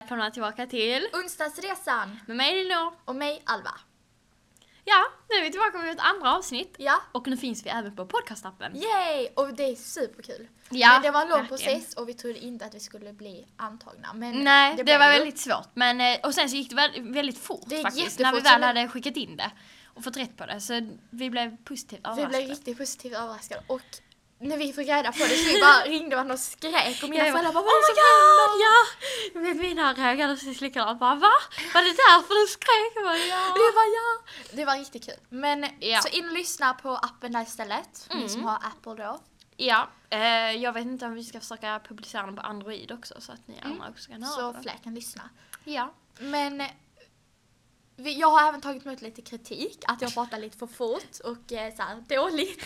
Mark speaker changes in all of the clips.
Speaker 1: välkomna tillbaka till
Speaker 2: Onsdagsresan
Speaker 1: med mig Elinor.
Speaker 2: och mig Alva.
Speaker 1: Ja, nu är vi tillbaka med ett andra avsnitt.
Speaker 2: Ja,
Speaker 1: Och nu finns vi även på podcastappen.
Speaker 2: yay! Och det är superkul.
Speaker 1: Ja,
Speaker 2: men det var en lång
Speaker 1: verkligen.
Speaker 2: process och vi trodde inte att vi skulle bli antagna. Men
Speaker 1: Nej, det,
Speaker 2: blev
Speaker 1: var
Speaker 2: vi.
Speaker 1: väldigt svårt. Men, eh, och sen så gick det väl- väldigt fort
Speaker 2: Det gick
Speaker 1: faktiskt.
Speaker 2: jättefort,
Speaker 1: När vi
Speaker 2: så
Speaker 1: väl
Speaker 2: det-
Speaker 1: hade skickat in det och fått rätt på det. Så vi blev positivt
Speaker 2: Vi
Speaker 1: överraskade.
Speaker 2: blev riktigt positivt överraskade och när vi fick reda på det så vi bara ringde varandra och skrek och mina
Speaker 1: Jag
Speaker 2: föräldrar bara
Speaker 1: oh my
Speaker 2: vad
Speaker 1: god! Ja! Men Mina reagerade precis likadant. Bara va? Var det därför du skrek? Jag bara, ja.
Speaker 2: Och jag bara ja! Det var riktigt kul. Men
Speaker 1: Ja. Mm.
Speaker 2: så in och lyssna på appen där istället. Ni som har Apple då.
Speaker 1: ja eh, jag vet inte om vi ska försöka publicera den på Android också så att ni andra också kan höra
Speaker 2: Mm. Så
Speaker 1: den.
Speaker 2: fler kan lyssna.
Speaker 1: Ja.
Speaker 2: Men eh, vi, jag har även tagit emot lite kritik, att jag pratar lite för fort och eh, så här, dåligt.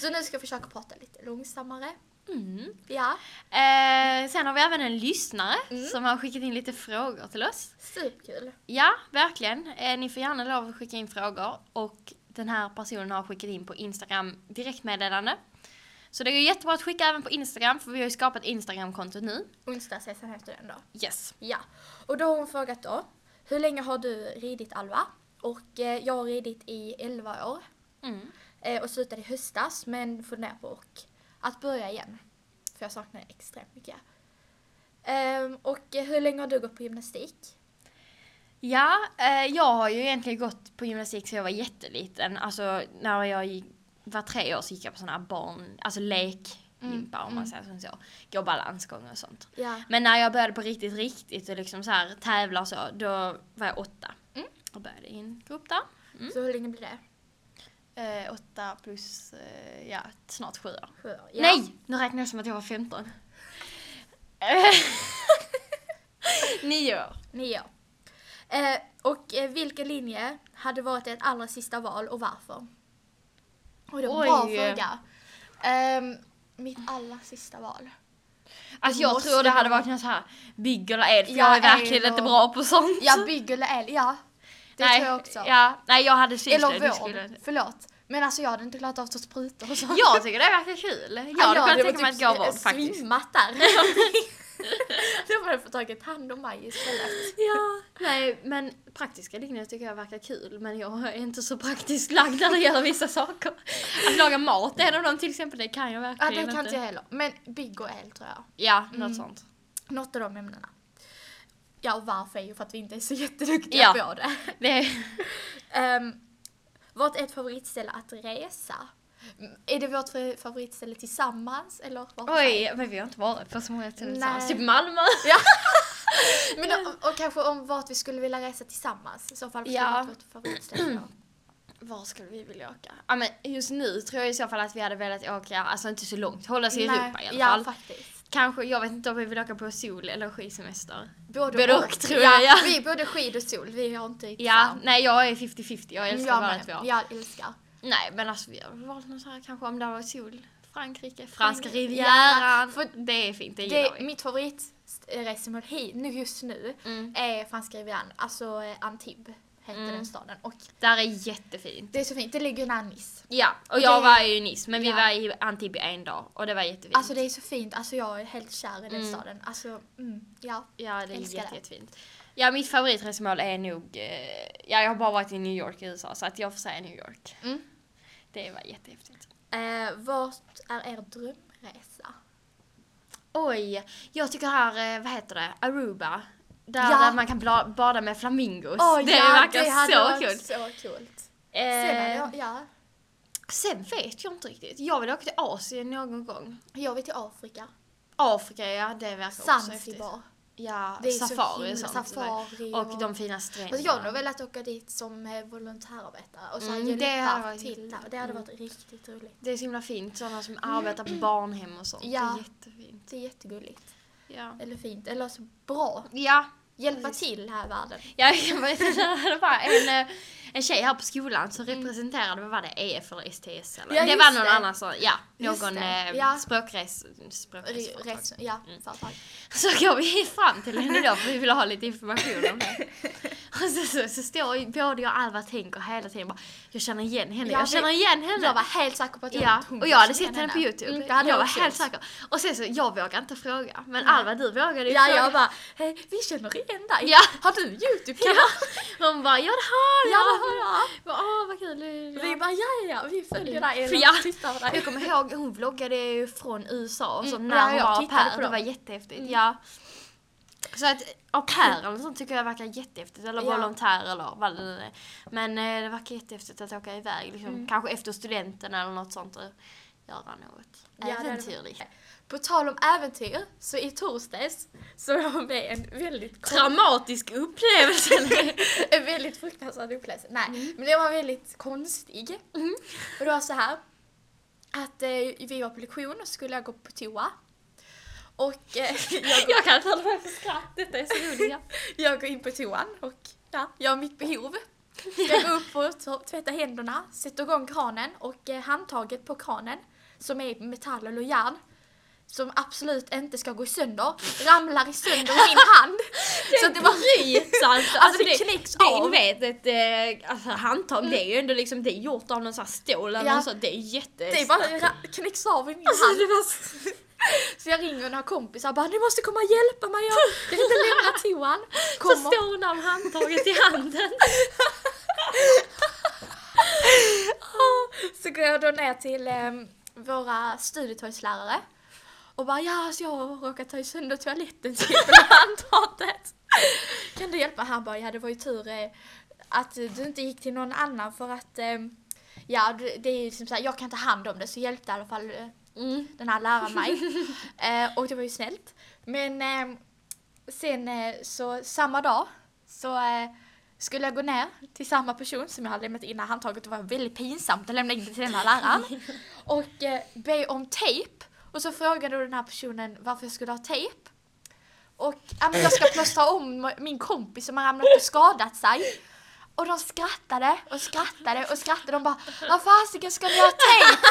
Speaker 2: Så nu ska jag försöka prata lite långsammare.
Speaker 1: Mm.
Speaker 2: Ja,
Speaker 1: Eh, sen har vi även en lyssnare
Speaker 2: Mm.
Speaker 1: som har skickat in lite frågor till oss.
Speaker 2: superkul.
Speaker 1: Ja, verkligen. Eh, ni får gärna lov att skicka in frågor. Och den här personen har skickat in på Instagram direktmeddelande. Så det är ju jättebra att skicka även på Instagram för vi har ju skapat Instagram-kontot nu.
Speaker 2: Onsdagsresan heter den då.
Speaker 1: Yes.
Speaker 2: Ja, och då har hon frågat då. Hur länge har du ridit Alva? Och eh, jag har ridit i 11 år
Speaker 1: Mm.
Speaker 2: eh, och slutade i höstas men funderar på och att börja igen. För jag saknar det extremt mycket. Ehm, och eh, hur länge har du gått på gymnastik?
Speaker 1: Ja, eh, jag har ju egentligen gått på gymnastik sedan jag var jätteliten. Alltså när jag gick, var tre år så gick jag på sådana här barn, alltså lekgympa om man säger så. Gå balansgång och sånt.
Speaker 2: Ja.
Speaker 1: Men när jag började på riktigt, riktigt och liksom så här tävla och så, då var jag åtta.
Speaker 2: Mm.
Speaker 1: Och började i en grupp där.
Speaker 2: Så hur länge blir det?
Speaker 1: Eh, åtta plus, eh, ja, snart sju år.
Speaker 2: Sju år? Ja.
Speaker 1: Nej! Nu räknar jag som att jag var 15. Eh, Nio år.
Speaker 2: Nio år. Eh, och eh, vilken linje hade varit ert allra sista val och varför? Och det var en bra
Speaker 1: Oj.
Speaker 2: fråga. Ehm, mitt allra sista val.
Speaker 1: Alltså jag
Speaker 2: måste
Speaker 1: tror det hade
Speaker 2: vara-
Speaker 1: varit någon så här bygg eller ed, för
Speaker 2: Ja,
Speaker 1: jag är verkligen
Speaker 2: ed och-
Speaker 1: inte bra på sånt.
Speaker 2: Ja, bygg eller eld. Ja, det
Speaker 1: Alltså- nej,
Speaker 2: tror jag också.
Speaker 1: Ja, nej jag hade syslöjd.
Speaker 2: eller
Speaker 1: det
Speaker 2: vård.
Speaker 1: skulle-
Speaker 2: Förlåt. Men alltså jag hade inte klarat av att ta sprutor och sånt.
Speaker 1: Jag tycker det verkar kul. Jag
Speaker 2: Ja,
Speaker 1: hade
Speaker 2: jag
Speaker 1: kunnat
Speaker 2: hade
Speaker 1: tänka mig att
Speaker 2: typ
Speaker 1: gå vård
Speaker 2: s-
Speaker 1: faktiskt.
Speaker 2: Svimmat där. Då hade jag fått tagit hand om mig istället.
Speaker 1: Ja, nej men praktiska linjer tycker jag verkar kul men jag är inte så praktiskt lagd när det gäller vissa saker. Att laga mat är en av dem till exempel, det kan jag
Speaker 2: Ja,
Speaker 1: verkligen
Speaker 2: det kan inte jag heller. Men bygg och eld tror jag.
Speaker 1: Ja, något
Speaker 2: Mm.
Speaker 1: sånt.
Speaker 2: Något av de ämnena. Ja, och varför är ju för att vi inte är så jätteduktiga
Speaker 1: Ja.
Speaker 2: på det.
Speaker 1: Det är,
Speaker 2: Um, vårt ett favoritställe att resa. Mm, Är det vårt fa- favoritställe tillsammans eller? var för sig?
Speaker 1: oj, men vi har inte varit på så många tillsammans.
Speaker 2: Nej.
Speaker 1: Typ Malmö.
Speaker 2: Men, och, och kanske om vart vi skulle vilja resa tillsammans. I så fall skulle
Speaker 1: Ja.
Speaker 2: det vara vårt favoritställe då.
Speaker 1: Var skulle vi vilja åka? Ja men just nu tror jag i så fall att vi hade velat åka, alltså inte så långt, hålla sig i
Speaker 2: Nej,
Speaker 1: Europa i alla
Speaker 2: Ja,
Speaker 1: fall.
Speaker 2: faktiskt.
Speaker 1: Kanske, jag vet inte om vi vill åka på sol eller skidsemester.
Speaker 2: Både,
Speaker 1: Både och, tror jag, ja.
Speaker 2: Vi är både skid och sol. Vi har inte riktigt
Speaker 1: Ja,
Speaker 2: samma.
Speaker 1: nej jag är 50-50, Mm, jag älskar
Speaker 2: jag
Speaker 1: bara
Speaker 2: med.
Speaker 1: två.
Speaker 2: Jag älskar.
Speaker 1: Nej men alltså vi har väl valt något så här kanske om det var sol. Frankrike, franska
Speaker 2: Frankrike.
Speaker 1: rivieran. det är fint, det
Speaker 2: Det
Speaker 1: gillar
Speaker 2: är
Speaker 1: vi.
Speaker 2: mitt favoritresmål hit nu just nu
Speaker 1: Mm.
Speaker 2: är franska rivieran, alltså eh, Antibes heter
Speaker 1: Mm.
Speaker 2: den staden. Och
Speaker 1: Där är jättefint.
Speaker 2: det är så fint, det ligger nära Nice.
Speaker 1: Ja, och
Speaker 2: Och
Speaker 1: jag
Speaker 2: det-
Speaker 1: var ju i Nice men vi
Speaker 2: Ja.
Speaker 1: var i Antibes en dag och det var jättefint.
Speaker 2: Alltså det är så fint, alltså jag är helt kär i den
Speaker 1: Mm.
Speaker 2: staden. Alltså, mm, ja.
Speaker 1: ja, det är
Speaker 2: älskar
Speaker 1: jätte,
Speaker 2: det.
Speaker 1: jättefint. Ja, mitt favoritresmål är nog... Eh, ja, jag har bara varit i New York i USA så att jag får säga New York.
Speaker 2: Mm.
Speaker 1: Det var jättehäftigt.
Speaker 2: Eh, vart är er drömresa?
Speaker 1: Oj, jag tycker här, eh, vad heter det, Aruba. Där,
Speaker 2: Ja.
Speaker 1: där man kan bla- bada med flamingos. det verkar
Speaker 2: hade
Speaker 1: så
Speaker 2: varit
Speaker 1: kul.
Speaker 2: så coolt. Sen hade
Speaker 1: Eh,
Speaker 2: jag, ja,
Speaker 1: Sen vet jag inte riktigt. Jag vill åka till Asien någon gång.
Speaker 2: jag vill till Afrika.
Speaker 1: Afrika, ja det verkar också häftigt.
Speaker 2: Zanzibar.
Speaker 1: Ja,
Speaker 2: Det är så
Speaker 1: safari
Speaker 2: himla,
Speaker 1: och sånt.
Speaker 2: Safari
Speaker 1: Och de fina stränderna.
Speaker 2: Alltså jag hade nog velat åka dit som eh, volontärarbetare och så
Speaker 1: Mm,
Speaker 2: mm,
Speaker 1: det hade
Speaker 2: hjälpa
Speaker 1: varit
Speaker 2: till där.
Speaker 1: jättekul.
Speaker 2: Det hade varit riktigt roligt.
Speaker 1: Det är så himla fint, sådana som arbetar på barnhem och sånt. Det
Speaker 2: Ja.
Speaker 1: är jättefint.
Speaker 2: Det är jättegulligt.
Speaker 1: Ja.
Speaker 2: Eller fint, eller så bra.
Speaker 1: Ja,
Speaker 2: Hjälpa
Speaker 1: Precis.
Speaker 2: till här i världen.
Speaker 1: jag kan bara det var en, eh, en tjej här på skolan som representerade, vad var det, E EF eller STS eller?
Speaker 2: Ja,
Speaker 1: Mm. det
Speaker 2: just
Speaker 1: var någon
Speaker 2: det.
Speaker 1: annan som, ja,
Speaker 2: Just
Speaker 1: någon
Speaker 2: det.
Speaker 1: eh,
Speaker 2: Ja.
Speaker 1: språkres,
Speaker 2: Re-
Speaker 1: språkresföretag.
Speaker 2: res- ja,
Speaker 1: Mm.
Speaker 2: företag.
Speaker 1: Så går vi fram till henne då för vi vill ha lite information om det. så, så, så står ju både jag och Alva och tänker hela tiden bara, jag känner igen henne,
Speaker 2: Ja,
Speaker 1: jag känner igen henne.
Speaker 2: Jag var helt säker på att jag
Speaker 1: ja,
Speaker 2: vet hon
Speaker 1: och jag hade
Speaker 2: som
Speaker 1: sett henne på youtube.
Speaker 2: Mm, det hade
Speaker 1: jag var
Speaker 2: också
Speaker 1: helt
Speaker 2: gjort.
Speaker 1: säker. Och sen så, jag vågar inte fråga. Men
Speaker 2: Nej.
Speaker 1: Alva du vågade ju
Speaker 2: Ja,
Speaker 1: fråga.
Speaker 2: jag bara, hej, vi känner igen dig.
Speaker 1: Ja.
Speaker 2: Har du Youtube-kanal?
Speaker 1: Ja. Hon bara, ja det har
Speaker 2: Ja,
Speaker 1: jag.
Speaker 2: det har jag.
Speaker 1: Bara, Åh vad kul. Ja.
Speaker 2: Vi bara, ja, ja, ja, vi följer dig.
Speaker 1: Mm. För
Speaker 2: eller
Speaker 1: jag-
Speaker 2: tittar på
Speaker 1: Jag
Speaker 2: dig.
Speaker 1: kommer ihåg, hon vloggade ju från USA och så
Speaker 2: Mm,
Speaker 1: när
Speaker 2: ja,
Speaker 1: hon
Speaker 2: jag
Speaker 1: var au
Speaker 2: tittade
Speaker 1: pair.
Speaker 2: på
Speaker 1: Det
Speaker 2: dem.
Speaker 1: var jättehäftigt.
Speaker 2: Mm.
Speaker 1: Ja. Så att au pair eller sånt tycker jag verkar jättehäftigt. Eller
Speaker 2: Ja.
Speaker 1: volontär eller vad det nu är. Men eh, det verkar jättehäftigt att åka iväg. Liksom,
Speaker 2: Mm.
Speaker 1: Kanske efter studenten eller något sånt. Och göra något
Speaker 2: Ja, det hade varit-
Speaker 1: äventyrligt.
Speaker 2: På tal om äventyr, så i torsdags så var jag med en väldigt kort-
Speaker 1: Traumatisk upplevelse!
Speaker 2: en väldigt fruktansvärd upplevelse. Nej, men den var väldigt konstig. Och det var så här att eh, vi var på lektion och så skulle jag gå på toa. Och eh, jag, går,
Speaker 1: jag kan inte hålla mig för skratt. Detta är så roligt. ja.
Speaker 2: jag går in på toan och ja, jag har mitt behov. Jag går upp och t- tvättar händerna, sätter igång kranen och eh, handtaget på kranen som är i metall eller järn som absolut inte ska gå sönder, ramlar i sönder min hand. så att det var
Speaker 1: Bryts alltså!
Speaker 2: Alltså, det knäcks
Speaker 1: Det
Speaker 2: av.
Speaker 1: är, vet, ett eh, alltså, handtag, det är ju ändå liksom, det är gjort av någon sån här stål eller
Speaker 2: Ja.
Speaker 1: något sånt. Det är jätte...
Speaker 2: Det bara ra- knäcks av i min
Speaker 1: Alltså,
Speaker 2: hand.
Speaker 1: det var...
Speaker 2: Så jag ringer några kompisar och bara ni måste komma och hjälpa mig, jag jag kan inte lämna toan.
Speaker 1: Så
Speaker 2: Kommer.
Speaker 1: står hon där med handtaget i handen.
Speaker 2: Så går jag då ner till ehm, våra studietorgslärare och bara ja, alltså jag har råkat ta sönder toaletten till handtaget. Kan du hjälpa? Han bara ja, det var ju tur eh, att du inte gick till någon annan för att ehm, ja, det- det är ju liksom så här, jag kan ta hand om det så hjälpte i alla fall eh, den här läraren mig. eh, och det var ju snällt. Men ehm, sen eh, så samma dag så eh, skulle jag gå ner till samma person som jag hade lämnat in det här handtaget. Det var väldigt pinsamt att lämna in det till den här läraren. och eh, be om tejp. Och så frågade då den här personen varför jag skulle ha tejp. Och ja, men jag ska plåstra om min kompis som har ramlat och skadat sig. Och de skrattade och skrattade och skrattade. De bara Vad fasiken ska ni ha tejp?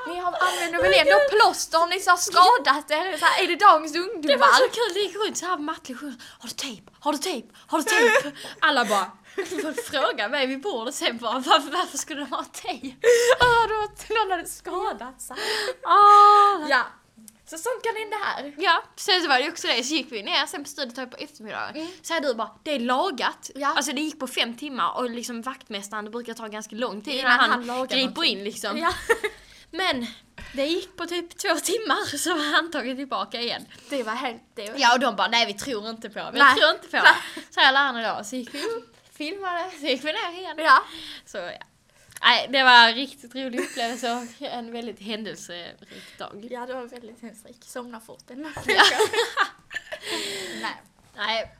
Speaker 2: Och Ni har använder väl ändå plåster om ni så har skadat er? Så här, är det dagens ungdomar?
Speaker 1: Det var så kul, det gick runt såhär mattlig skjorta. Har du tejp? Har du tejp? Har du tejp? Alla bara fråga mig vid bordet sen bara varför, varför skulle de ha tejp?
Speaker 2: Ja, det var Ah, någon hade skadat sig.
Speaker 1: Ah.
Speaker 2: Ja. Så sånt kan hända här.
Speaker 1: Ja, sen så var det också det, så gick vi ner sen på studiet på eftermiddagen.
Speaker 2: Mm.
Speaker 1: Så här du bara, det är lagat.
Speaker 2: Ja.
Speaker 1: Alltså det gick på fem timmar och liksom vaktmästaren, det brukar ta ganska lång tid
Speaker 2: Innan
Speaker 1: innan han,
Speaker 2: han lagar
Speaker 1: griper
Speaker 2: någonting.
Speaker 1: in liksom.
Speaker 2: Ja.
Speaker 1: Men det gick på typ två timmar så var handtaget tillbaka igen.
Speaker 2: Det var helt... Det var...
Speaker 1: Ja och de bara, nej vi tror inte på det, vi
Speaker 2: Nej.
Speaker 1: tror inte på det. Så här lärarna då, så gick vi upp, filmade, så gick vi ner igen.
Speaker 2: ja.
Speaker 1: Så ja. Nej, det var en riktigt rolig upplevelse och en väldigt händelserik dag.
Speaker 2: Ja, det var väldigt hemskt. Somna fort den här
Speaker 1: Ja.
Speaker 2: Nej.
Speaker 1: Nej.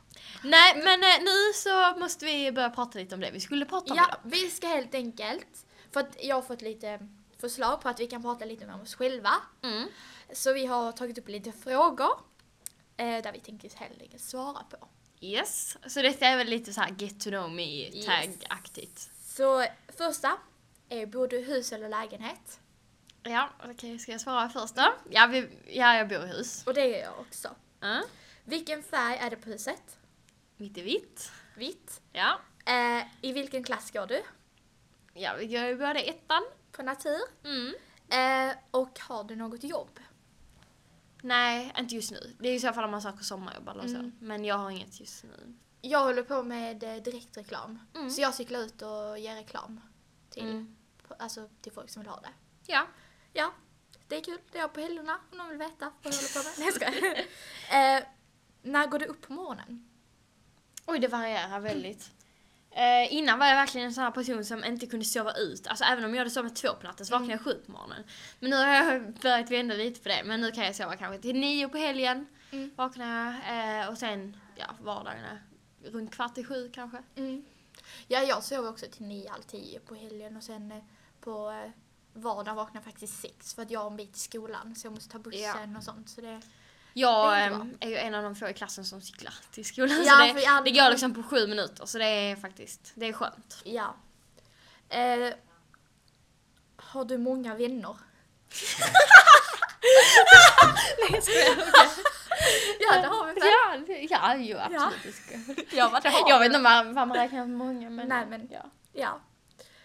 Speaker 1: Nej, men eh, nu så måste vi börja prata lite om det vi skulle prata om
Speaker 2: Ja,
Speaker 1: idag.
Speaker 2: vi ska helt enkelt... För att jag har fått lite förslag på att vi kan prata lite mer om oss själva.
Speaker 1: Mm.
Speaker 2: Så vi har tagit upp lite frågor. Eh, där vi tänker helt enkelt svara på.
Speaker 1: Yes, så detta är väl lite så här get to know me
Speaker 2: Yes.
Speaker 1: tag-aktigt.
Speaker 2: Så första är, bor du i hus eller lägenhet?
Speaker 1: Ja, okej, ska jag svara först då? Ja, vi, ja jag bor i hus.
Speaker 2: Och det gör jag också.
Speaker 1: Ja.
Speaker 2: Vilken färg är det på huset?
Speaker 1: Mitt i vitt.
Speaker 2: Vitt.
Speaker 1: Ja.
Speaker 2: Eh, I vilken klass går du?
Speaker 1: ja, vi går ju båda i ettan.
Speaker 2: På natur.
Speaker 1: Mm.
Speaker 2: Eh, och har du något jobb?
Speaker 1: Nej, inte just nu. Det är i så fall om man söker sommarjobb eller så.
Speaker 2: Mm.
Speaker 1: Men jag har inget just nu.
Speaker 2: Jag håller på med eh, direktreklam.
Speaker 1: Mm.
Speaker 2: Så jag cyklar ut och ger reklam till,
Speaker 1: Mm.
Speaker 2: på- alltså, till folk som vill ha det.
Speaker 1: Ja.
Speaker 2: Ja, det är kul. Det är jag på helgerna om någon vill veta vad jag håller på med. Nej, jag skojar. eh, när går du upp på morgonen?
Speaker 1: Oj, det varierar väldigt.
Speaker 2: Mm.
Speaker 1: Eh, innan var jag verkligen en sån här person som inte kunde sova ut. Alltså även om jag hade sovit två på natten så vaknade jag
Speaker 2: Mm.
Speaker 1: sju på morgonen. Men nu har jag börjat vända lite på det. Men nu kan jag sova kanske till nio på helgen.
Speaker 2: Mm.
Speaker 1: Vaknar jag. Eh, och sen, ja, vardagarna. Runt kvart i sju kanske.
Speaker 2: Mm. Ja, jag sover också till nio, halv tio på helgen och sen eh, på eh, vardagen vaknar jag faktiskt sex för att jag har en bit i skolan så jag måste ta bussen och sånt. Så det, Det
Speaker 1: Jag
Speaker 2: är
Speaker 1: är,
Speaker 2: inte
Speaker 1: är ju en av de få i klassen som cyklar till skolan.
Speaker 2: Ja,
Speaker 1: så det,
Speaker 2: för jag hade-
Speaker 1: det går liksom på sju minuter. Så det är faktiskt, det är skönt.
Speaker 2: ja. Eh, har du många vänner?
Speaker 1: Nej, jag skojar.
Speaker 2: Ja, det har vi väl.
Speaker 1: Ja, det- ja jo absolut. det ska-
Speaker 2: Ja, vad det har
Speaker 1: Jag
Speaker 2: vi.
Speaker 1: vet inte om man, vad man räknar för många men...
Speaker 2: Nej, men-
Speaker 1: Ja.
Speaker 2: Ja.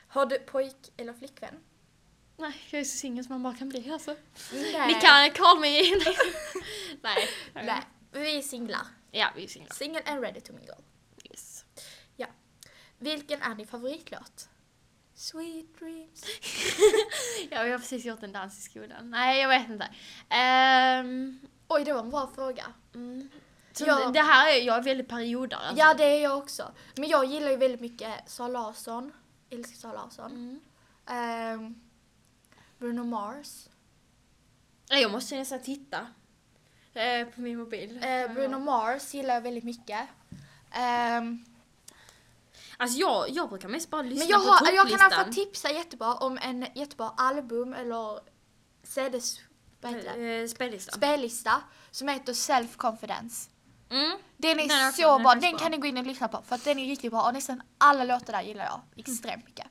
Speaker 2: Har du pojk eller flickvän?
Speaker 1: Nej, jag är så singel som man bara kan bli alltså.
Speaker 2: Nej.
Speaker 1: Ni kan call me in. Nej.
Speaker 2: Nej. Vi är singlar.
Speaker 1: Ja, vi är singlar.
Speaker 2: Single and ready to mingle.
Speaker 1: Yes.
Speaker 2: Vilken är din favoritlåt? Sweet dreams.
Speaker 1: Ja, vi har precis gjort en dans i skolan. Nej, jag vet inte. Ehm,
Speaker 2: Oj, det var en bra fråga.
Speaker 1: mm. Så
Speaker 2: Ja.
Speaker 1: Det här är, jag är väldigt periodare. alltså.
Speaker 2: Ja, det är jag också. Men jag gillar ju väldigt mycket Sara Larsson. Älskar Sara Larsson.
Speaker 1: Mm.
Speaker 2: Ehm, Bruno Mars.
Speaker 1: Nej, Jag måste nästan titta. eh, På min mobil.
Speaker 2: Eh, Bruno Mars gillar jag väldigt mycket. Ehm,
Speaker 1: Alltså jag, jag brukar mest bara lyssna
Speaker 2: men jag,
Speaker 1: på
Speaker 2: har, jag kan
Speaker 1: topplistan.
Speaker 2: alltså tipsa jättebra om en jättebra album eller CDs, vad heter det?
Speaker 1: Eh, Spellistan.
Speaker 2: spellista som heter Self Confidence.
Speaker 1: Mm.
Speaker 2: Den är
Speaker 1: Den är också-
Speaker 2: så
Speaker 1: den är
Speaker 2: bra,
Speaker 1: faktiskt
Speaker 2: den
Speaker 1: bra.
Speaker 2: kan ni gå in och lyssna på för att den är riktigt bra och nästan alla låtar där gillar jag extremt mycket.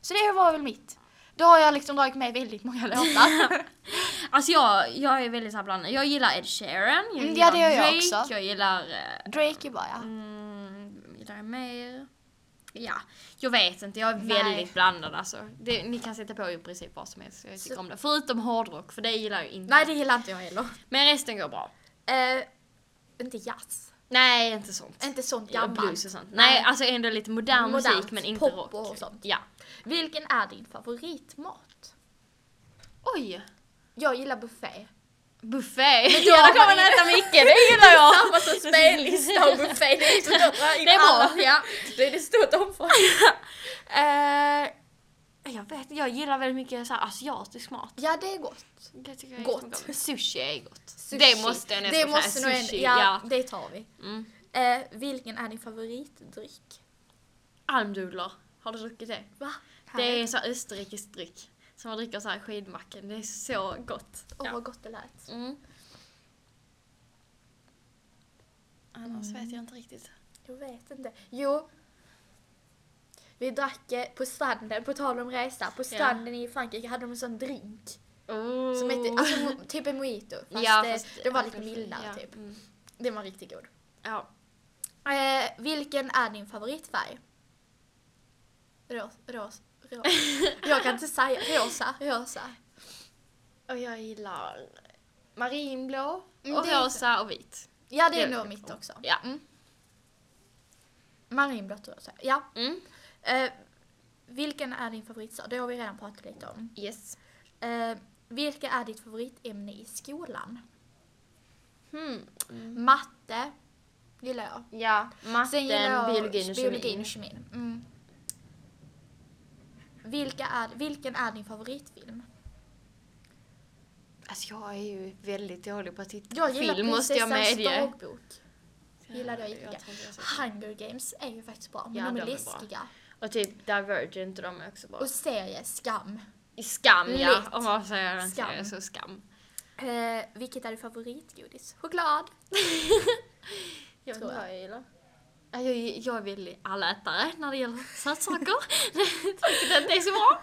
Speaker 2: Så det var väl mitt. Då har jag liksom dragit med väldigt många låtar.
Speaker 1: Alltså jag, jag är väldigt såhär blandad. Jag gillar Ed Sheeran, jag
Speaker 2: Mm,
Speaker 1: gillar
Speaker 2: ja, det gör jag
Speaker 1: Drake,
Speaker 2: också.
Speaker 1: jag gillar... eh,
Speaker 2: Drake är bra ja.
Speaker 1: Mm, gillar jag mer? Ja, jag vet inte. Jag är
Speaker 2: Nej.
Speaker 1: väldigt blandad alltså. Det, ni kan sätta på i princip vad som helst. Jag tycker
Speaker 2: Så-
Speaker 1: om det. Förutom hårdrock, för det gillar jag inte.
Speaker 2: Nej det gillar inte jag heller.
Speaker 1: Men resten går bra.
Speaker 2: Eh, inte jazz,
Speaker 1: Nej, inte sånt.
Speaker 2: inte sånt
Speaker 1: Ja,
Speaker 2: gammalt.
Speaker 1: blues och sånt. Nej, alltså ändå lite modern
Speaker 2: Modernt,
Speaker 1: musik men inte
Speaker 2: pop
Speaker 1: rock.
Speaker 2: och sånt.
Speaker 1: Ja.
Speaker 2: Vilken är din favoritmat?
Speaker 1: Oj!
Speaker 2: Jag gillar buffé.
Speaker 1: Buffé!
Speaker 2: Men då
Speaker 1: Ja, då kan
Speaker 2: har
Speaker 1: man
Speaker 2: man ju-
Speaker 1: äta mycket, det gillar jag!
Speaker 2: Samma som Ah, spellista och buffé, det är så stora in
Speaker 1: Det är bra,
Speaker 2: alla.
Speaker 1: ja.
Speaker 2: Det är det stort omfång. Eh,
Speaker 1: Jag vet jag gillar väldigt mycket så här asiatisk mat.
Speaker 2: ja, det är gott.
Speaker 1: Det tycker jag är
Speaker 2: Gott.
Speaker 1: jättegott. Sushi är gott.
Speaker 2: Sushi.
Speaker 1: Det måste jag nästan
Speaker 2: det
Speaker 1: säga.
Speaker 2: måste nog en-
Speaker 1: Sushi,
Speaker 2: ja,
Speaker 1: ja.
Speaker 2: det tar vi.
Speaker 1: Mm.
Speaker 2: Eh, vilken är din favoritdryck?
Speaker 1: Almdudlar, har du druckit det?
Speaker 2: Va?
Speaker 1: Det är så här österrikisk dryck. Som man dricker så här i skidmacken, det är så gott.
Speaker 2: Åh,
Speaker 1: Ja.
Speaker 2: vad gott det lät.
Speaker 1: Mm. Annars vet jag inte riktigt.
Speaker 2: Jag vet inte. Jo. Vi drack eh, på stranden, på tal om resa, på stranden i Frankrike hade de en sån drink.
Speaker 1: Oh.
Speaker 2: Som hette, alltså, mo- typ en mojito. Fast,
Speaker 1: Ja,
Speaker 2: eh,
Speaker 1: fast-
Speaker 2: det var
Speaker 1: ja,
Speaker 2: lite
Speaker 1: precis.
Speaker 2: mildare
Speaker 1: Ja,
Speaker 2: typ.
Speaker 1: mm.
Speaker 2: Den var riktigt god.
Speaker 1: Ja.
Speaker 2: Eh, vilken är din favoritfärg? Ros, ros, rosa. Jag kan inte säga rosa, rosa.
Speaker 1: Och jag gillar marinblå,
Speaker 2: Mm,
Speaker 1: och
Speaker 2: det är-
Speaker 1: rosa och vit.
Speaker 2: Ja, det är
Speaker 1: Det-
Speaker 2: nog mitt också.
Speaker 1: Ja.
Speaker 2: Mm. Marinblått och rosa. Ja.
Speaker 1: Mm.
Speaker 2: Eh, vilken är din favoritsal? Det har vi redan pratat lite om.
Speaker 1: Yes.
Speaker 2: Eh, vilka är ditt favoritämne i skolan?
Speaker 1: Hmm.
Speaker 2: Matte gillar jag.
Speaker 1: Ja, matten,
Speaker 2: Sen gillar jag
Speaker 1: biologin och
Speaker 2: biologin
Speaker 1: kemin.
Speaker 2: och kemin. Mm. Vilka är, vilken är din favoritfilm?
Speaker 1: Alltså jag är ju väldigt dålig på att titta
Speaker 2: Jag
Speaker 1: på
Speaker 2: gillar
Speaker 1: film måste jag
Speaker 2: Prinsessans
Speaker 1: medge.
Speaker 2: dagbok. gillade jag
Speaker 1: tror
Speaker 2: jättemycket.
Speaker 1: inte jag sett den.
Speaker 2: Hunger Games är ju faktiskt bra, men
Speaker 1: Ja,
Speaker 2: de är
Speaker 1: de är bra.
Speaker 2: läskiga.
Speaker 1: Och typ Divergent och de är också bra.
Speaker 2: Och serier, Skam.
Speaker 1: I Skam ja,
Speaker 2: Lätt.
Speaker 1: om man säger en
Speaker 2: Skam.
Speaker 1: serie så skam.
Speaker 2: Eh, vilket är ditt favoritgodis? Choklad?
Speaker 1: Mm, Jag
Speaker 2: vet inte
Speaker 1: jag gillar. Jag, är- jag är väldigt allätare när det gäller sötsaker. Jag tycker inte det är så bra.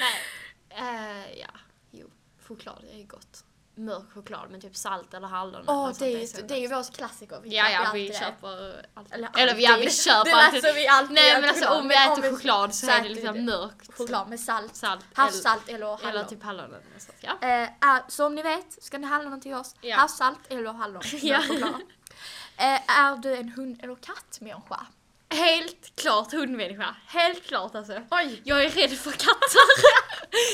Speaker 1: Nej. Eh, ja, jo. Choklad är ju gott. Mörk choklad med typ salt eller hallon. eller
Speaker 2: Åh,
Speaker 1: något
Speaker 2: det,
Speaker 1: sånt
Speaker 2: är
Speaker 1: alltså, så
Speaker 2: ju- det är ju vår klassiker. Vi
Speaker 1: Ja,
Speaker 2: köper
Speaker 1: ja,
Speaker 2: alltid
Speaker 1: vi
Speaker 2: det.
Speaker 1: köper alltid.
Speaker 2: Eller
Speaker 1: Eller, ja, vi
Speaker 2: alltid.
Speaker 1: köper
Speaker 2: Det
Speaker 1: alltid.
Speaker 2: läser vi alltid.
Speaker 1: Nej
Speaker 2: i
Speaker 1: men alltså
Speaker 2: choklad,
Speaker 1: om vi äter
Speaker 2: vi-
Speaker 1: choklad så
Speaker 2: så
Speaker 1: är det
Speaker 2: äter vi
Speaker 1: liksom
Speaker 2: det.
Speaker 1: mörkt.
Speaker 2: Choklad med salt,
Speaker 1: Salt.
Speaker 2: havssalt eller
Speaker 1: Eller, eller
Speaker 2: hallon.
Speaker 1: typ hallon eller något sånt. Ja.
Speaker 2: Eh, är- så om ni vet, ska ni hallonen till oss,
Speaker 1: Ja.
Speaker 2: havssalt eller hallon. med
Speaker 1: Ja.
Speaker 2: choklad. Eh, är du en hund eller kattmänniska?
Speaker 1: Helt klart hundmänniska. Helt klart alltså.
Speaker 2: Oj!
Speaker 1: Jag är rädd för katter.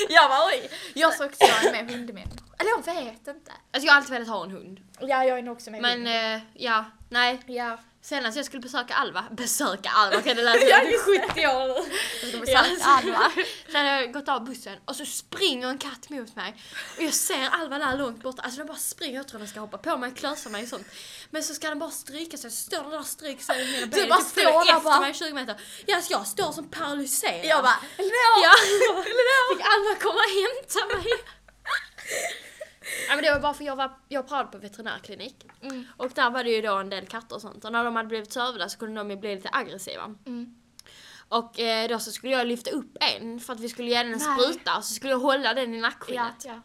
Speaker 2: Jag var oj! Jag såg också jag är med hundmänniska. Eller jag vet inte.
Speaker 1: Alltså jag har alltid velat ha en hund.
Speaker 2: Ja, jag är nog också med
Speaker 1: Men eh, ja, nej.
Speaker 2: Ja.
Speaker 1: Senast jag skulle besöka Alva. Besöka Alva kan det låta
Speaker 2: Ja,
Speaker 1: som jag är 70 år nu.
Speaker 2: Jag
Speaker 1: Ja,
Speaker 2: ska besöka
Speaker 1: så-
Speaker 2: Alva.
Speaker 1: Så hade jag gått av bussen och så springer en katt mot mig. Och jag ser Alva där långt borta. Alltså den bara springer. Jag tror den ska hoppa på mig, klösa mig och sånt. Men så ska den bara stryka sig. Så står den där och stryker sig i mina ben.
Speaker 2: bara
Speaker 1: Typ följer
Speaker 2: står där
Speaker 1: efter
Speaker 2: bara.
Speaker 1: mig 20 meter. Ja, alltså jag står som paralyserad.
Speaker 2: Jag bara,
Speaker 1: Ja. Fick Alva komma och hämta mig. Ja, men det var bara för jag var jag pratade på veterinärklinik
Speaker 2: Mm.
Speaker 1: och där var det ju då en del katter och sånt och när de hade blivit sövda så kunde de ju bli lite aggressiva.
Speaker 2: Mm.
Speaker 1: Och eh, då så skulle jag lyfta upp en för att vi skulle ge den en
Speaker 2: Nej.
Speaker 1: spruta och så skulle jag hålla den i nackskinnet.
Speaker 2: ja.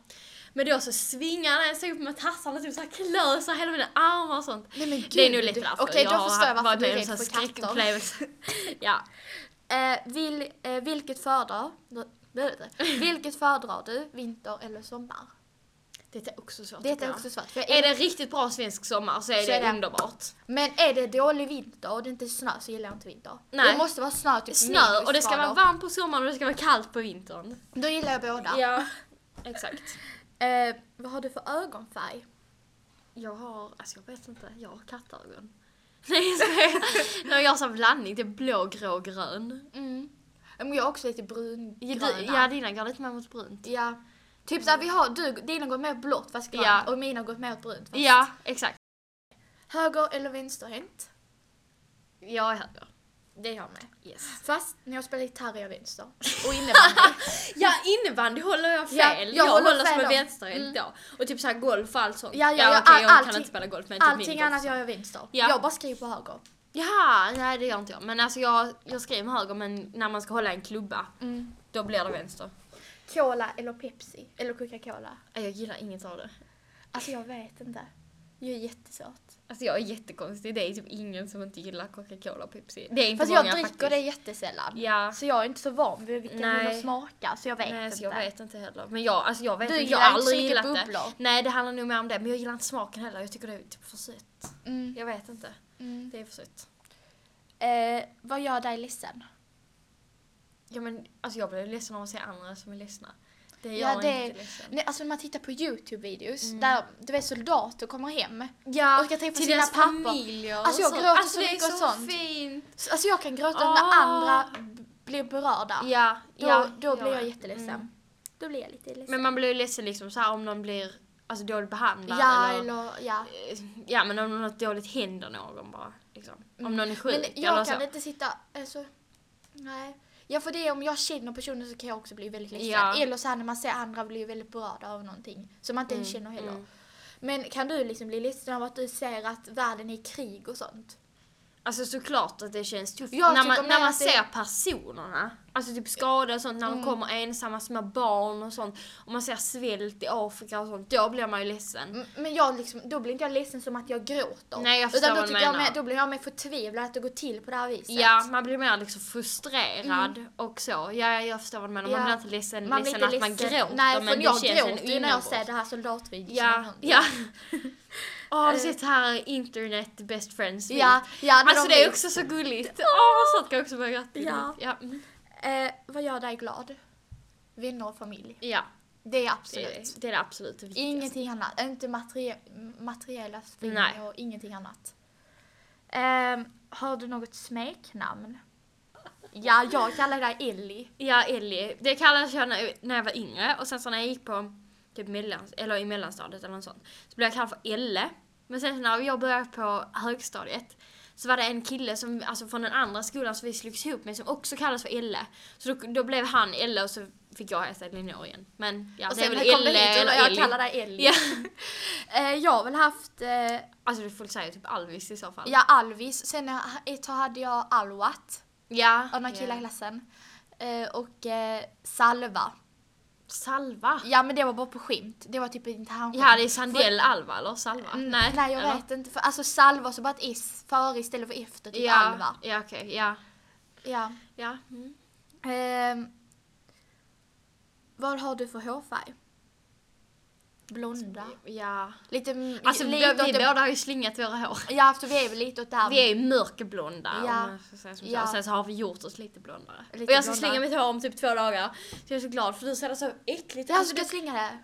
Speaker 1: Men då så svingar han sig upp med tassarna typ såhär klösar hela mina armar och sånt.
Speaker 2: Nej men gud.
Speaker 1: Det är nog lite därför
Speaker 2: Okej, då
Speaker 1: har
Speaker 2: förstår jag varför
Speaker 1: varit
Speaker 2: du är
Speaker 1: med om
Speaker 2: rädd för
Speaker 1: sån här
Speaker 2: katter.
Speaker 1: skräckupplevelse. ja.
Speaker 2: Eh, vil, eh, vilket föredrar nu- nu- Vilket föredrar du? Vinter eller sommar?
Speaker 1: Det är också svårt.
Speaker 2: Det
Speaker 1: tycker
Speaker 2: är
Speaker 1: jag.
Speaker 2: också svårt. För jag
Speaker 1: Är det en riktigt bra svensk sommar så är
Speaker 2: Så
Speaker 1: det,
Speaker 2: är det.
Speaker 1: underbart.
Speaker 2: Men är det dålig vinter och det inte är snö så gillar jag inte vinter.
Speaker 1: Nej.
Speaker 2: Det måste vara snö typ
Speaker 1: Snö
Speaker 2: minus
Speaker 1: och det ska vara
Speaker 2: grader.
Speaker 1: varmt på sommaren och det ska vara kallt på vintern.
Speaker 2: Då gillar jag båda.
Speaker 1: Ja, exakt.
Speaker 2: Eh, vad har du för ögonfärg?
Speaker 1: Jag har, alltså jag vet inte, jag har kattögon. Nej, jag skojar. Nej, Jag har sån blandning, det är blå, grå, grön.
Speaker 2: Mm. Men jag är också lite
Speaker 1: Ja,
Speaker 2: brungröna.
Speaker 1: du, ja dina går lite mer mot brunt.
Speaker 2: Ja. Typ såhär vi har, du, dina går mer blått fast grönt
Speaker 1: Ja.
Speaker 2: och mina går mer åt brunt fast.
Speaker 1: Ja, exakt.
Speaker 2: Höger eller vänsterhänt?
Speaker 1: Jag är höger.
Speaker 2: Det är jag med.
Speaker 1: Yes.
Speaker 2: Fast när jag spelar gitarr är jag vänster. Och innebandy.
Speaker 1: Ja, innebandy håller jag fel.
Speaker 2: Ja,
Speaker 1: jag,
Speaker 2: jag
Speaker 1: håller,
Speaker 2: håller
Speaker 1: som
Speaker 2: fel
Speaker 1: en
Speaker 2: om.
Speaker 1: vänsterhänt ja. Och typ såhär golf och allt sånt.
Speaker 2: Ja, ja, ja,
Speaker 1: okej,
Speaker 2: all-
Speaker 1: jag kan
Speaker 2: allting-
Speaker 1: inte spela golf men typ min
Speaker 2: Allting
Speaker 1: golf.
Speaker 2: annat gör jag vänster.
Speaker 1: Ja.
Speaker 2: Jag bara skriver på höger.
Speaker 1: Jaha, nej det gör inte jag. Men alltså jag, jag skriver med höger men när man ska hålla en klubba
Speaker 2: Mm.
Speaker 1: då blir det vänster. Äh,
Speaker 2: Cola eller Pepsi? Eller Coca-Cola?
Speaker 1: Jag gillar inget av det.
Speaker 2: Alltså jag vet inte. Jag är jättesöt.
Speaker 1: Alltså jag är jättekonstig, det är typ ingen som inte gillar Coca-Cola och Pepsi. Det är inte
Speaker 2: Fast
Speaker 1: många
Speaker 2: jag dricker
Speaker 1: faktiskt.
Speaker 2: det jättesällan.
Speaker 1: Ja.
Speaker 2: Så jag är inte så van vid vilken
Speaker 1: Nej.
Speaker 2: Nej. smakar så jag vet
Speaker 1: Nej, så
Speaker 2: inte.
Speaker 1: jag vet inte heller. Men jag, alltså jag vet
Speaker 2: Du
Speaker 1: inte, jag
Speaker 2: gillar
Speaker 1: har
Speaker 2: inte så
Speaker 1: aldrig
Speaker 2: mycket
Speaker 1: gillat
Speaker 2: bubblor.
Speaker 1: det. Nej, det handlar nog mer om det. Men jag gillar inte smaken heller, jag tycker det är typ för sött.
Speaker 2: Mm.
Speaker 1: Jag vet inte,
Speaker 2: Mm.
Speaker 1: det är för sött.
Speaker 2: Eh, vad gör dig ledsen?
Speaker 1: Ja men alltså jag blir ledsen om man ser andra som är ledsna. Det gör
Speaker 2: Ja,
Speaker 1: ja,
Speaker 2: det-
Speaker 1: inte ledsen.
Speaker 2: Nej, alltså när man tittar på Youtube-videos
Speaker 1: Mm.
Speaker 2: där du vet soldater kommer hem.
Speaker 1: Ja,
Speaker 2: och ska träffa
Speaker 1: till
Speaker 2: sina
Speaker 1: deras
Speaker 2: pappor.
Speaker 1: familjer och
Speaker 2: Alltså, jag
Speaker 1: sånt.
Speaker 2: gråter så
Speaker 1: alltså, det är
Speaker 2: mycket och sånt.
Speaker 1: fint.
Speaker 2: Så- Alltså jag kan gråta
Speaker 1: Ah.
Speaker 2: när andra b- blir berörda.
Speaker 1: Ja,
Speaker 2: Då,
Speaker 1: ja,
Speaker 2: då blir jag
Speaker 1: med.
Speaker 2: jätteledsen.
Speaker 1: Mm.
Speaker 2: Då blir jag lite ledsen.
Speaker 1: Men man blir ju ledsen liksom så här, om någon blir alltså, dåligt behandlad
Speaker 2: ja,
Speaker 1: eller,
Speaker 2: eller ja.
Speaker 1: Eh, Ja men om något dåligt händer någon bara. Liksom. Om någon är
Speaker 2: Mm. Men
Speaker 1: sjuk eller
Speaker 2: jag
Speaker 1: så.
Speaker 2: kan inte sitta, alltså, nej. Ja för det är om jag känner personen så kan jag också bli väldigt ledsen.
Speaker 1: Ja.
Speaker 2: Eller så här när man ser andra bli väldigt berörda av någonting som man inte ens känner heller.
Speaker 1: mm.
Speaker 2: Men kan du liksom bli ledsen av att du ser att världen är i krig och sånt?
Speaker 1: Alltså såklart att det känns tufft.
Speaker 2: Jag
Speaker 1: när
Speaker 2: tycker
Speaker 1: man, när
Speaker 2: mer
Speaker 1: man
Speaker 2: att det- Mm.
Speaker 1: ser personerna. Alltså typ skador och sånt. När de kommer ensamma, små barn och sånt. Och man ser svält i Afrika och sånt. Då blir man ju ledsen.
Speaker 2: M- Men jag liksom, då blir inte jag ledsen som att jag gråter.
Speaker 1: Nej, jag förstår
Speaker 2: Utan då,
Speaker 1: vad du
Speaker 2: tycker jag
Speaker 1: menar.
Speaker 2: mer- då blir jag mer förtvivlad att det går till på det här viset.
Speaker 1: Ja, man blir mer liksom frustrerad och så. Ja, ja, jag förstår vad du menar. Man
Speaker 2: Mm. Ja.
Speaker 1: blir inte ledsen,
Speaker 2: Man blir
Speaker 1: ledsen
Speaker 2: inte
Speaker 1: liksom att man
Speaker 2: ledsen.
Speaker 1: gråter.
Speaker 2: Nej,
Speaker 1: men
Speaker 2: för
Speaker 1: det
Speaker 2: jag
Speaker 1: känns en
Speaker 2: gråter ju när jag
Speaker 1: inombords.
Speaker 2: ser det här soldatvideon
Speaker 1: Ja,
Speaker 2: som
Speaker 1: ja. Eh. Åh, har du sett här internet best friends video?
Speaker 2: ja, ja när
Speaker 1: Alltså
Speaker 2: de
Speaker 1: det är
Speaker 2: vill.
Speaker 1: också så gulligt. Åh, oh, sånt kan jag också börja gratta till.
Speaker 2: Ja.
Speaker 1: Ja. mm.
Speaker 2: Eh, vad gör dig glad? Vänner och familj.
Speaker 1: ja,
Speaker 2: Det är
Speaker 1: det
Speaker 2: absolut.
Speaker 1: är det, det, är det absolut viktigaste.
Speaker 2: Ingenting annat. Inte materie- materiella
Speaker 1: Nej.
Speaker 2: ting och ingenting annat. Ehm, har du något smeknamn? Ja, jag kallar dig Ellie.
Speaker 1: Ja, Ellie. Det kallades jag när, när jag var yngre och sen så när jag gick på typ mellan, eller i mellanstadiet eller något sånt så blev jag kallad för Elle. Men sen så när jag började på högstadiet så var det en kille som, alltså från den andra skolan som vi slogs ihop med som också kallades för Elle. Så då, då blev han Elle och så fick jag heta Elinor igen. Men ja,
Speaker 2: och
Speaker 1: det är
Speaker 2: sen
Speaker 1: väl
Speaker 2: när jag kom
Speaker 1: Elle
Speaker 2: hit
Speaker 1: eller
Speaker 2: och jag
Speaker 1: Ellie.
Speaker 2: kallar dig Ellie.
Speaker 1: Ja.
Speaker 2: Eh, jag har väl haft eh,
Speaker 1: Alltså folk säger typ Alvis i så fall.
Speaker 2: ja, Alvis, sen ha- ett tag hade jag Alwat
Speaker 1: Ja.
Speaker 2: av några killar i klassen. Eh, och eh, Salva.
Speaker 1: Salva?
Speaker 2: Ja men det var bara på skämt. Det var typ inte han
Speaker 1: Ja, det är Sandell Alva eller Salva?
Speaker 2: Mm, Nej, jag
Speaker 1: eller?
Speaker 2: vet inte. För, alltså Salva så bara ett S före istället för efter, typ
Speaker 1: Ja,
Speaker 2: Alva.
Speaker 1: ja okej, ja.
Speaker 2: Ja.
Speaker 1: ja. Mm.
Speaker 2: Ehm, vad har du för hårfärg? Blonda.
Speaker 1: Ja.
Speaker 2: Lite, m-
Speaker 1: Alltså vi,
Speaker 2: lite
Speaker 1: vi
Speaker 2: åt det,
Speaker 1: båda har ju slingat våra hår.
Speaker 2: Ja, för vi är väl lite åt det här.
Speaker 1: Vi är ju mörkblonda
Speaker 2: Ja.
Speaker 1: om man ska säga som så.
Speaker 2: Ja.
Speaker 1: Och sen så har vi gjort oss lite blondare.
Speaker 2: Lite
Speaker 1: och jag ska
Speaker 2: blondare.
Speaker 1: slinga mitt hår om typ två dagar. Så jag är så glad för du ser det så äckligt
Speaker 2: Ja, så du slingar det?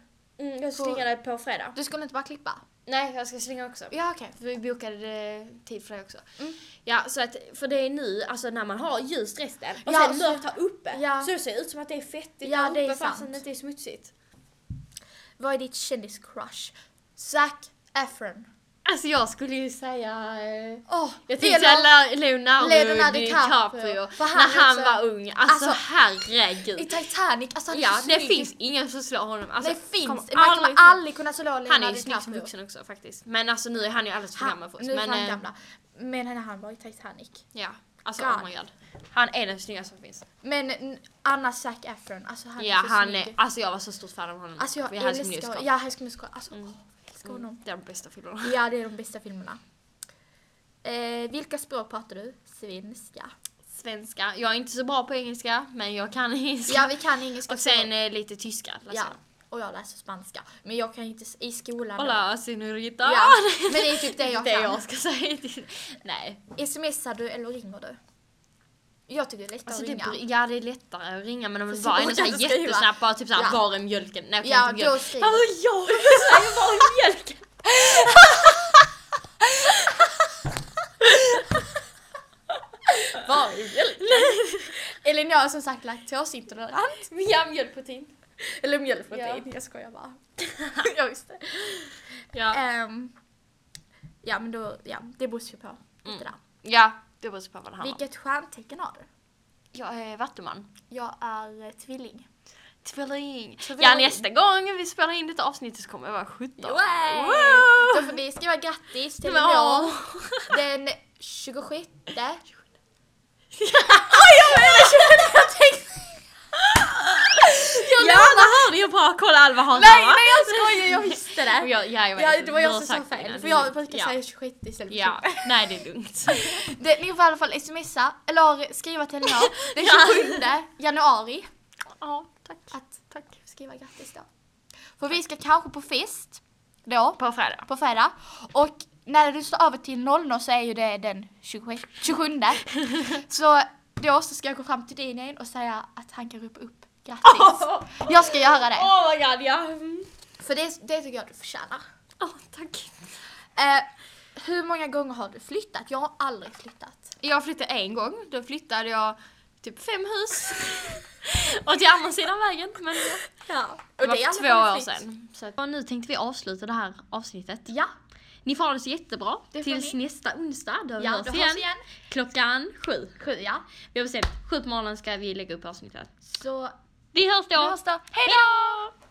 Speaker 1: mm, jag ska slinga det på fredag.
Speaker 2: Du skulle inte bara klippa?
Speaker 1: Nej, jag ska slinga också.
Speaker 2: Ja, okej.
Speaker 1: För vi bokade eh, tid för det också.
Speaker 2: Mm.
Speaker 1: Ja, så att, för det är nu, alltså när man har ljust resten och
Speaker 2: Ja,
Speaker 1: sen
Speaker 2: så-
Speaker 1: mörkt här uppe.
Speaker 2: Ja.
Speaker 1: Så det ser ut som att det är fettigt
Speaker 2: Ja,
Speaker 1: där
Speaker 2: det är
Speaker 1: uppe fastän
Speaker 2: sant.
Speaker 1: det inte är smutsigt.
Speaker 2: Vad är ditt kändiscrush? Zac Efron.
Speaker 1: Alltså jag skulle ju säga... Eh,
Speaker 2: Åh,
Speaker 1: Jag tänkte säga Leonardo,
Speaker 2: Leonardo
Speaker 1: DiCaprio,
Speaker 2: DiCaprio, för
Speaker 1: när
Speaker 2: han
Speaker 1: han
Speaker 2: också-
Speaker 1: var ung. Alltså,
Speaker 2: Alltså, I
Speaker 1: herregud.
Speaker 2: Titanic, alltså han är
Speaker 1: Ja,
Speaker 2: så
Speaker 1: det
Speaker 2: snygg.
Speaker 1: finns ingen som slår honom. Alltså,
Speaker 2: det finns. Man
Speaker 1: kommer
Speaker 2: kommer
Speaker 1: aldrig-
Speaker 2: aldrig, kunna slå Leonardo
Speaker 1: han är ju snygg som
Speaker 2: DiCaprio.
Speaker 1: vuxen också faktiskt. Men alltså nu är han ju alldeles för
Speaker 2: Han-
Speaker 1: gammal för oss.
Speaker 2: Nu är
Speaker 1: Men,
Speaker 2: han
Speaker 1: eh,
Speaker 2: gamla. Men när han var i Titanic.
Speaker 1: Ja. Alltså
Speaker 2: God.
Speaker 1: oh my god. Han är den snyggaste som finns.
Speaker 2: Men n- annars Zac Efron, alltså han
Speaker 1: ja
Speaker 2: är så
Speaker 1: han
Speaker 2: snygg.
Speaker 1: är, alltså jag var så stort fan av honom.
Speaker 2: Alltså jag
Speaker 1: Vi hade som
Speaker 2: älskar,
Speaker 1: musical.
Speaker 2: ja High School Musical, alltså
Speaker 1: Mm.
Speaker 2: åh, jag älskar honom.
Speaker 1: Det är de bästa filmerna.
Speaker 2: Ja det är de bästa filmerna. Eh, vilka språk pratar du? Svenska.
Speaker 1: Svenska. Jag är inte så bra på engelska men jag kan engelska.
Speaker 2: Ja vi kan engelska.
Speaker 1: Och sen
Speaker 2: språk.
Speaker 1: eh, lite tyska.
Speaker 2: ja,
Speaker 1: läser
Speaker 2: och jag läser spanska. Men jag kan ju inte, s- i skolan.
Speaker 1: jag. Hola senorita.
Speaker 2: Ja, men det är typ det jag
Speaker 1: det
Speaker 2: kan.
Speaker 1: jag ska säga. Nej.
Speaker 2: Smsar du eller ringer du? Jag tycker det är lättare
Speaker 1: Alltså
Speaker 2: att
Speaker 1: det,
Speaker 2: ringa.
Speaker 1: br- ja det är lättare att ringa men om det
Speaker 2: så
Speaker 1: bara är
Speaker 2: orkar
Speaker 1: något sån här
Speaker 2: inte skriva.
Speaker 1: jättesnabbt bara typ såhär
Speaker 2: Ja.
Speaker 1: var är mjölken? Nej jag
Speaker 2: Ja,
Speaker 1: kan
Speaker 2: då
Speaker 1: inte mjölk.
Speaker 2: skriver
Speaker 1: Vad var jag? Jag säger var är mjölken?
Speaker 2: Var är mjölken? Elin jag har som sagt laktosintolerant.
Speaker 1: Ja mjölkprotein.
Speaker 2: Eller mjölkprotein, jag skojar bara. jag visste.
Speaker 1: Ja.
Speaker 2: Ehm, ja men då, ja det beror ju på.
Speaker 1: Mm.
Speaker 2: Lite där.
Speaker 1: ja, det beror på vad det handlar om.
Speaker 2: Vilket stjärntecken har du?
Speaker 1: Jag är vattuman.
Speaker 2: Jag är eh, tvilling.
Speaker 1: Tvilling.
Speaker 2: Tvilling.
Speaker 1: Ja nästa gång vi spelar in detta avsnittet så kommer jag vara 17.
Speaker 2: Wow!
Speaker 1: Wow!
Speaker 2: Då får vi skriva grattis till
Speaker 1: Men,
Speaker 2: Elinor
Speaker 1: åh.
Speaker 2: den 26.
Speaker 1: Jag tänkte... Jag ja, det hörde jag bra. Kolla Alva har
Speaker 2: Nej, nej jag skojar, jag visste
Speaker 1: Och
Speaker 2: det!
Speaker 1: jag, ja, jag vet,
Speaker 2: Ja, det var
Speaker 1: du
Speaker 2: jag
Speaker 1: har
Speaker 2: som sa
Speaker 1: sagt
Speaker 2: fel,
Speaker 1: innan.
Speaker 2: för jag brukar
Speaker 1: ja.
Speaker 2: säga 26 istället för
Speaker 1: Ja, nej det är lugnt.
Speaker 2: Det, ni får i alla fall smsa, eller skriva till Elinor den 27 januari
Speaker 1: ja, tack.
Speaker 2: att
Speaker 1: tack.
Speaker 2: skriva grattis då. För vi ska kanske på fest då,
Speaker 1: På fredag.
Speaker 2: på fredag. Och när du står över till 00 så är ju det den 26, 27. Så då så ska jag gå fram till din igen och säga att han kan ropa upp grattis. Jag ska göra det.
Speaker 1: Oh my god, ja. Mm.
Speaker 2: För det, det tycker jag du förtjänar.
Speaker 1: Åh, tack.
Speaker 2: Eh, hur många gånger har du flyttat? Jag har aldrig flyttat.
Speaker 1: Jag flyttade en gång, då flyttade jag typ fem hus. och till andra sidan vägen. Men
Speaker 2: Ja. Och
Speaker 1: det var
Speaker 2: är i alla
Speaker 1: två
Speaker 2: fall
Speaker 1: år
Speaker 2: flytt.
Speaker 1: sedan. Så att, och nu tänkte vi avsluta det här avsnittet.
Speaker 2: Ja,
Speaker 1: Ni får ha det så jättebra
Speaker 2: Det får
Speaker 1: tills
Speaker 2: ni.
Speaker 1: nästa onsdag. Då
Speaker 2: ja,
Speaker 1: hörs
Speaker 2: då
Speaker 1: vi igen.
Speaker 2: hörs vi igen.
Speaker 1: Klockan sju.
Speaker 2: Sju, ja.
Speaker 1: Vi har bestämt, sju på morgonen ska vi lägga upp avsnittet.
Speaker 2: Så
Speaker 1: Vi hörs då!
Speaker 2: vi hörs då. Hej då!
Speaker 1: Hejdå!